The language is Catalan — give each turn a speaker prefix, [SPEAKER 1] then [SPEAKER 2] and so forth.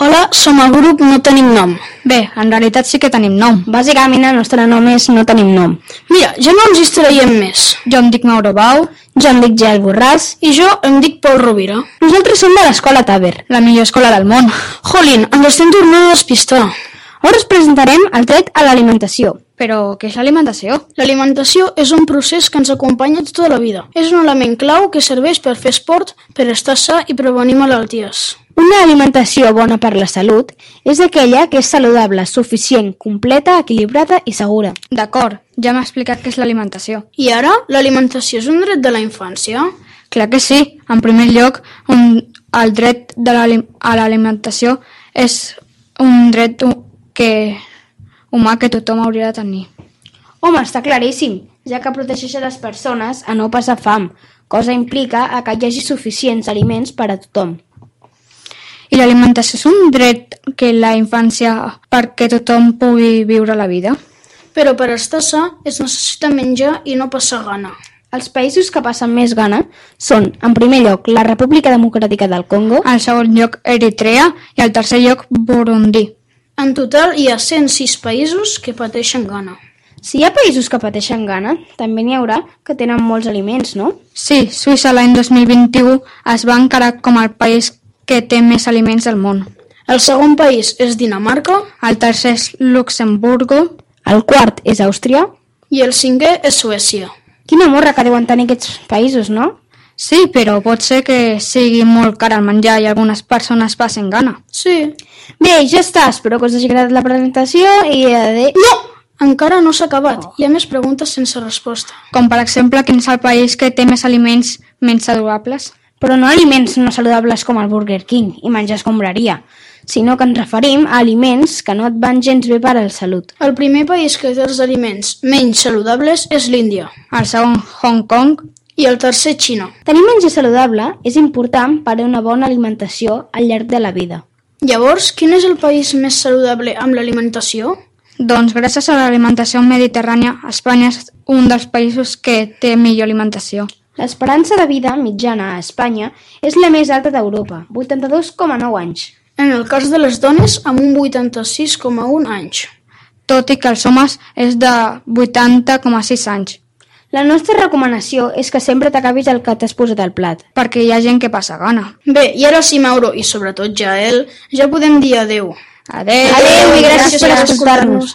[SPEAKER 1] Hola, som el grup No Tenim Nom. Bé, en realitat sí que tenim nom.
[SPEAKER 2] Bàsicament el nostre nom és No tenim nom.
[SPEAKER 1] Mira, ja no ens distraiem més. Jo em dic Mauro Bau
[SPEAKER 2] Jo em dic Gel Borràs.
[SPEAKER 1] i jo em dic Pol Rovira.
[SPEAKER 2] Nosaltres som de l'escola Taver.
[SPEAKER 1] La millor escola del món. Jolín, ens estem tornant a despistar.
[SPEAKER 2] Ara us presentarem el dret a l'alimentació.
[SPEAKER 1] Però què és l'alimentació? L'alimentació és un procés que ens acompanya tota la vida. És un element clau que serveix per fer esport, per estar sa i prevenir malalties.
[SPEAKER 2] Una alimentació bona per la salut és aquella que és saludable, suficient, completa, equilibrada i segura.
[SPEAKER 3] D'acord, ja m'ha explicat què és l'alimentació.
[SPEAKER 1] I ara, l'alimentació és un dret de la infància?
[SPEAKER 3] Clar que sí, en primer lloc, un, el dret de l'ali- a l'alimentació és un dret hu- que, humà que tothom hauria de tenir.
[SPEAKER 2] Home, està claríssim, ja que protegeix a les persones a no passar fam, cosa implica a que hi hagi suficients aliments per a tothom.
[SPEAKER 3] I l'alimentació és un dret que la infància perquè tothom pugui viure la vida.
[SPEAKER 1] Però per estar sa es necessita menjar i no passar gana.
[SPEAKER 2] Els països que passen més gana són, en primer lloc, la República Democràtica del Congo,
[SPEAKER 3] Al segon lloc, Eritrea i al tercer lloc, Burundi.
[SPEAKER 1] En total hi ha 106 països que pateixen gana.
[SPEAKER 2] Si hi ha països que pateixen gana, també n'hi haurà que tenen molts aliments, no?
[SPEAKER 3] Sí, Suïssa l'any 2021 es va encarar com el país que té més aliments del món.
[SPEAKER 1] El segon país és Dinamarca
[SPEAKER 3] El tercer és Luxemburgo,
[SPEAKER 2] El quart és Àustria.
[SPEAKER 1] i el cinquè és Suècia.
[SPEAKER 2] Quina morra que deuen tenir aquests països, no?
[SPEAKER 3] Sí, però pot ser que sigui molt car el menjar i algunes persones passen gana.
[SPEAKER 1] Sí.
[SPEAKER 2] Bé, ja està. Espero que us hagi agradat la presentació i adéu.
[SPEAKER 1] No! Encara no s'ha acabat. Hi ha més preguntes sense resposta.
[SPEAKER 3] Com per exemple, quin és el país que té més aliments menys saludables?
[SPEAKER 2] Però no aliments no saludables com el Burger King i menjar escombraria, sinó que ens referim a aliments que no et van gens bé per a la salut.
[SPEAKER 1] El primer país que té els aliments menys saludables és l'Índia.
[SPEAKER 3] El segon, Hong Kong.
[SPEAKER 1] I el tercer, Xina.
[SPEAKER 2] Tenir menjar saludable és important per a una bona alimentació al llarg de la vida.
[SPEAKER 1] Llavors, quin és el país més saludable amb l'alimentació?
[SPEAKER 3] Doncs gràcies a l'alimentació mediterrània, Espanya és un dels països que té millor alimentació.
[SPEAKER 2] L'esperança de vida mitjana a Espanya és la més alta d'Europa, 82,9 anys.
[SPEAKER 1] En el cas de les dones, amb un 86,1 anys.
[SPEAKER 3] Tot i que els homes és de 80,6 anys,
[SPEAKER 2] La nostra recomanació és que sempre t'acabis el que t'has posat al plat.
[SPEAKER 3] perquè hi ha gent que passa gana.
[SPEAKER 1] Bé, i ara sí, Mauro, i sobretot Jael, ja podem dir adeu.
[SPEAKER 3] Adéu!
[SPEAKER 2] Adéu i gràcies per escoltar-nos.